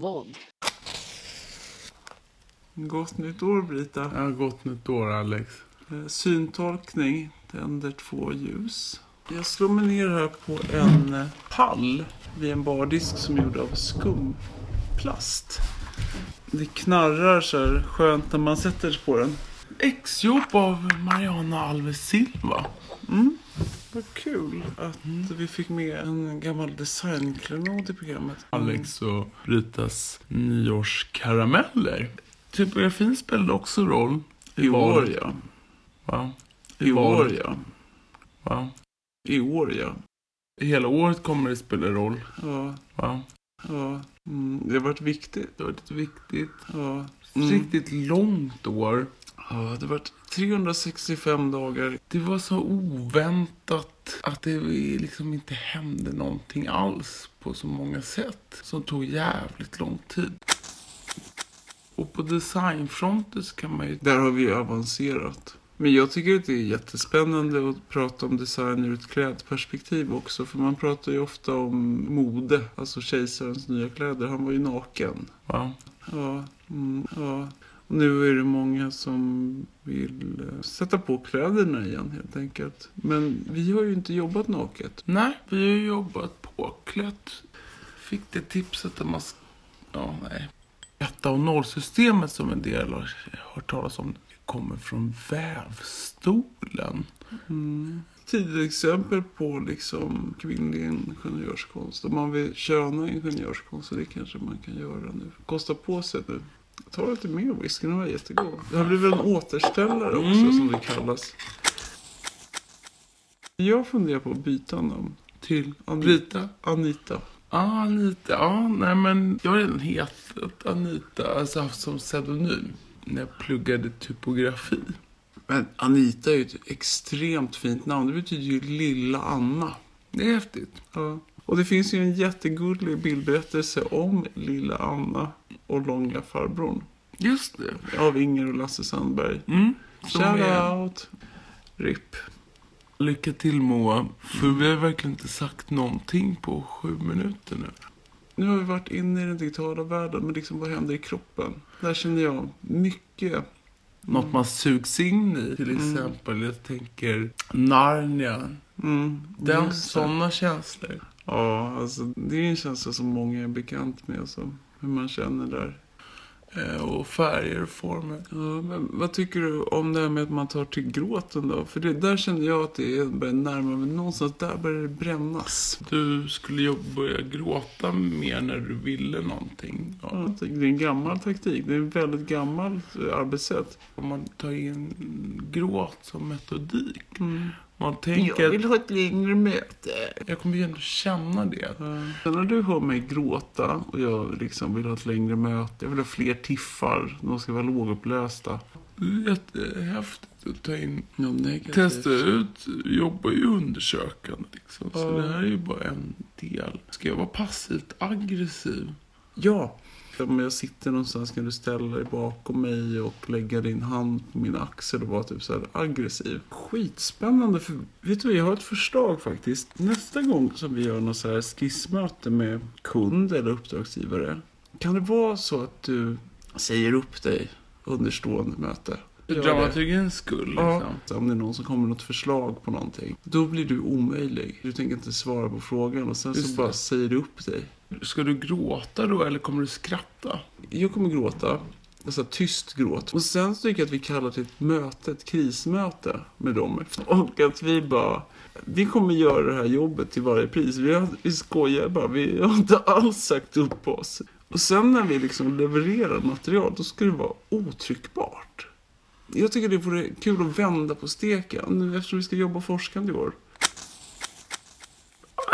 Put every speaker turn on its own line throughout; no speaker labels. våld.
Gott nytt år Brita.
Ja, gott nytt år Alex.
Eh, Syntolkning. Tänder två ljus. Jag slår mig ner här på en eh, pall vid en bardisk som är gjord av skumplast. Det knarrar så här skönt när man sätter sig på den.
Exjobb av Mariana Alves Silva.
Vad kul att vi fick med en gammal designklenod i programmet.
Alex och Britas nyårskarameller. Typografin spelade också roll.
I år
valet.
ja.
Va?
I år
valet.
ja.
Va?
I år ja.
Hela året kommer det spela roll.
Ja.
Va?
Ja. Mm. Det har varit viktigt.
Det var lite viktigt.
Ja.
Mm. Riktigt långt år.
Ja, det har varit 365 dagar.
Det var så oväntat att det liksom inte hände någonting alls på så många sätt. Som tog jävligt lång tid. Och på designfronten så kan man ju...
Där har vi ju avancerat. Men jag tycker att det är jättespännande att prata om design ur ett klädperspektiv också. För man pratar ju ofta om mode, alltså kejsarens nya kläder. Han var ju naken.
Va?
Ja, mm, ja. Och nu är det många som vill eh, sätta på kläderna igen helt enkelt. Men vi har ju inte jobbat naket.
Nej, vi har ju jobbat påklätt. Fick det tipset att man... sk- Ja, nej. Etta och nollsystemet som en del har hört talas om kommer från vävstolen.
Tidigt exempel på liksom kvinnlig ingenjörskonst. Om man vill köna ingenjörskonst, så det kanske man kan göra nu. Kosta på sig nu. Ta lite mer whisky, den var jättegod. Det här blir väl en återställare också som det kallas. Jag funderar på att byta namn.
Till
An-
Brita.
Anita.
Ja, Anita. Ja, nej men jag har redan hetat Anita, alltså haft som pseudonym när jag pluggade typografi.
Men Anita är ju ett extremt fint namn. Det betyder ju lilla Anna.
Det är häftigt.
Ja. Och det finns ju en jättegullig bildberättelse om lilla Anna och långa farbrorn.
Just det.
Av Inger och Lasse Sandberg.
Mm. Som är,
Shoutout! RIP.
lycka till Moa, för vi har verkligen inte sagt någonting på sju minuter nu.
Nu har vi varit inne i den digitala världen, men liksom vad händer i kroppen? Där känner jag mycket. Mm.
Något man sugs in i, till exempel. Jag tänker Narnia.
Mm,
Den,
just det.
sådana känslor.
Ja, alltså det är en känsla som många är bekant med. Alltså, hur man känner där.
Eh, Och färger och former.
Ja, men vad tycker du om det här med att man tar till gråten då? För det, där känner jag att det är- börjar närma mig någonstans. Där börjar det brännas.
Du skulle ju börja gråta mer när du ville någonting. Ja.
Ja, det är en gammal taktik. Det är en väldigt gammalt eh, arbetssätt.
Om man tar in gråt som metodik.
Mm.
Man tänker att
ha ett längre möte.
jag kommer ju ändå känna det.
Ja. När du hör mig gråta och jag liksom vill ha ett längre möte, jag vill ha fler tiffar, de ska vara lågupplösta.
Det är jättehäftigt att ta in.
Något negativt.
Testa ut, jobbar ju undersökande liksom. Så
Ja.
det här är ju bara en del. Ska jag vara passivt aggressiv?
Ja. Om jag sitter någonstans kan du ställa dig bakom mig och lägga din hand på min axel och vara typ så här aggressiv. Skitspännande för vet du vad, jag har ett förslag faktiskt. Nästa gång som vi gör något så här skissmöte med kund eller uppdragsgivare. Kan det vara så att du säger upp dig under stående möte?
För
Gör det.
dramaturgins skull
Ja.
liksom.
Så om det är någon som kommer med något förslag på någonting. Då blir du omöjlig. Du tänker inte svara på frågan och sen
Just
så bara
det.
säger du upp dig.
Ska du gråta då eller kommer du skratta?
Jag kommer gråta. Alltså tyst gråt. Och sen så tycker jag att vi kallar till ett möte, ett krismöte med dem. Och att vi bara, vi kommer göra det här jobbet till varje pris. Vi, har, vi skojar bara, vi har inte alls sagt upp oss. Och sen när vi liksom levererar material, då ska det vara otryckbart. Jag tycker det vore kul att vända på steken nu eftersom vi ska jobba forskande i år.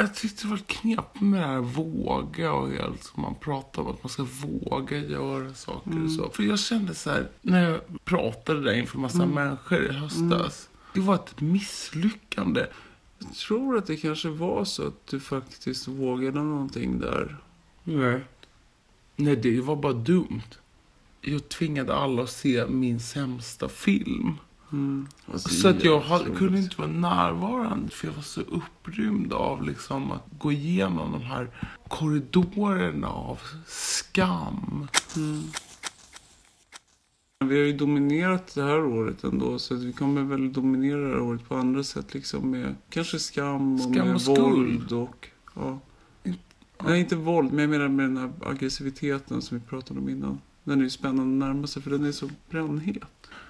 Jag tyckte det var knepigt med det här våga och allt som man pratar om. Att man ska våga göra saker och så. För jag kände så här, när jag pratade där inför massa människor i höstas. Det var ett misslyckande.
Jag tror att det kanske var så att du faktiskt vågade någonting där.
Nej. Nej, det var bara dumt. Jag tvingade alla att se min sämsta film.
Alltså,
Så att jag har,
jävligt
kunde
roligt.
inte vara närvarande för jag var så upprymd av liksom att gå igenom de här korridorerna av skam.
Vi har ju dominerat det här året ändå, så att vi kommer väl dominera det här året på andra sätt. Liksom med kanske skam och
Skam
med
och skuld.
våld och... Ja.
In-
Nej, inte våld, men jag menar med den här aggressiviteten som vi pratade om innan. Den är ju spännande att närma sig, för den är så brännhet.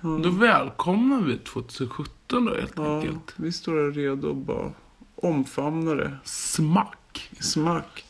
Ja,
Då välkomnar vi 2017 då helt
ja,
enkelt.
vi står här redo och bara omfamnar det.
Smack!
Smack!